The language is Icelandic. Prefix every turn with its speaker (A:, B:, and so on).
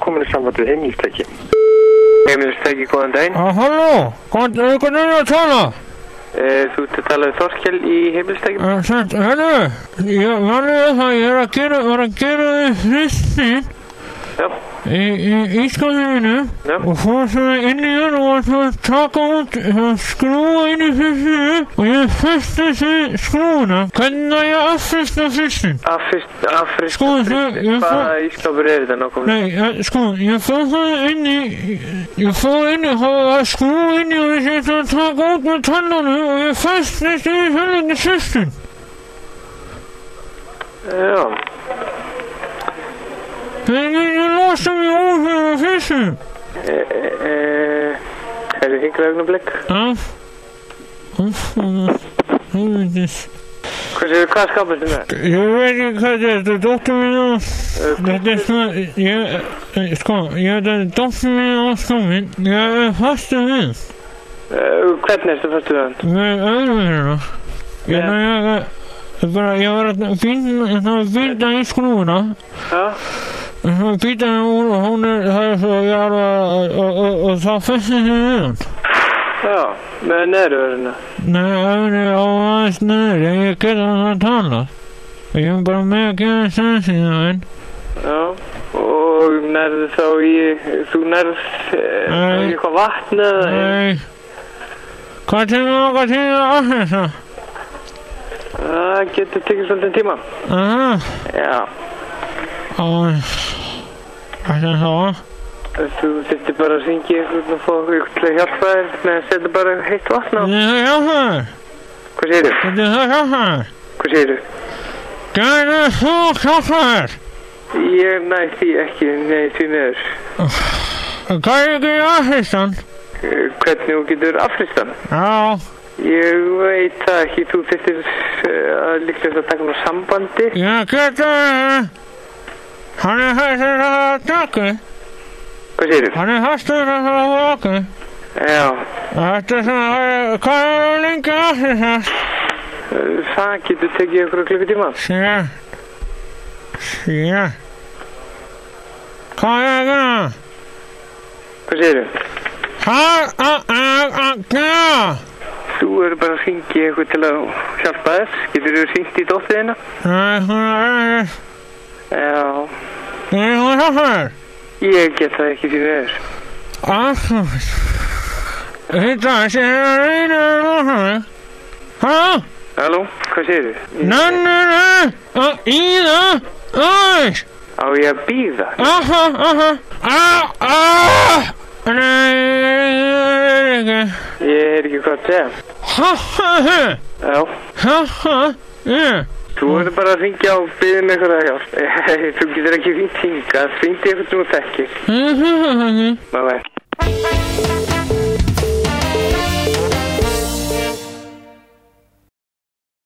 A: komin í samband við heimilistæki.
B: Heimilistæki, góðan daginn.
C: Já, halló, hvað er ykkur nýja að tala?
B: Eh, Þú ert að tala við Þorkel í heimilistæki.
C: Eh, Sætt, hérna, ég verði það að ég er að gera, var að gera þið hristin
B: Já,
C: í, í ískapinu
B: Já.
C: og fór svona inn í hann og var svona að taka út og skrúa inn í fyrstinu og ég fyrsti því skrúuna. Hvernig að ég aðfyrsta fyrstin?
B: afrist, afrist.
C: Sko, ég- ég
B: Hvaða
C: fór-
B: ískapur er þetta nákvæmlega?
C: Nei, eh, sko, ég fór það inn í, ég fór inn í, það var skrúa inn í og ég ætla að taka út með tannanum og ég fyrsti því fyrstinu fyrstin.
B: Já,
C: Þegar ég losa mig úr fyrir fyrstu.
B: eh, eh, eh, er þið hingrað augnablik?
C: Af. Af. Helvindis.
B: Hvað séu, hvað skapast þið með?
C: Ég veit ekki hvað þetta er dóttur mín á. Þetta er svona, ég, eh, sko, ég þetta er dóttur mín á skóminn. Ég er fastu við,
B: Eh, Hvernig ertu fyrstu við hann?
C: með öðrum hérna. Ég er, ég er, ég bara, ég var að býta, ég þarf að býta í skrúfuna.
B: Já,
C: Ég þarf að býta henni úr og hún er, það er svo, ég er að, og- og- og þá festið sér við hann.
B: já, með neðruverðina.
C: Nei, öfri á aðeins neður, ég get hann að tala. Ég er bara með að gera sensin á henn.
B: Já, og nærðu þá í, þú nærð eh,
C: Nei.
B: í eitthvað vatn eða?
C: Nei. Hvað til að okkar til að afhengsa?
B: Það Ah, getur tekið svolítið tíma.
C: Aha,
B: Já,
C: og... Hvað er það?
B: þú þurftir bara að syngja ykkur og fá ykkur til að hjálpa þér með að setja bara heitt vatn á.
C: Þetta er hjálpar,
B: Hvað segir þú?
C: þetta er hjálpar.
B: Hvað segir þú?
C: Gerðu þú hjálpar?
B: Ég næ því ekki, nei því meður.
C: Hvað er ekki afhengstan?
B: Eh, Hvernig þú getur afhristan?
C: Já,
B: Ég veit það ekki, þú þurftir eh, að líklega að taka um sambandi.
C: ég get að... Hann er hættur að taka,
B: Hvað segir þú?
C: hann er hættur að taka.
B: Já,
C: Þetta er svona, hvað er lengi að þetta?
B: eh, það getur tekið ykkur klukkutíma.
C: Sjö. Sjö. Hvað er það?
B: Hvað segir þú?
C: Hvað er að gera?
B: Þú eru bara að syngja ykkur til að hjálpa þér. Getur þú syngt í dóttiðina?
C: Nei, hún er,
B: Já,
C: nei, hún er hér.
B: ég get það ekki því meður.
C: Aftur. Þetta sé að reyna að lóta mig. Hæ?
B: Halló, hvað segir þið?
C: Nannur er að íða aðeins.
B: Á ég að býða?
C: Aha, aha. Á, á. Nei, ég er ekki.
B: Ég er ekki hvað að segja.
C: Ha, ha, ha.
B: Já,
C: Ha, ha, yeah. Mm-hmm,
B: þú verður bara að ringja og byggja með eitthvað að hjálp. þú getur ekki um
C: mm-hmm,
B: fínt hingað, fínt eitthvað sem þú þekkir.
C: Mhm, mhm, mhm.
B: Bye bye.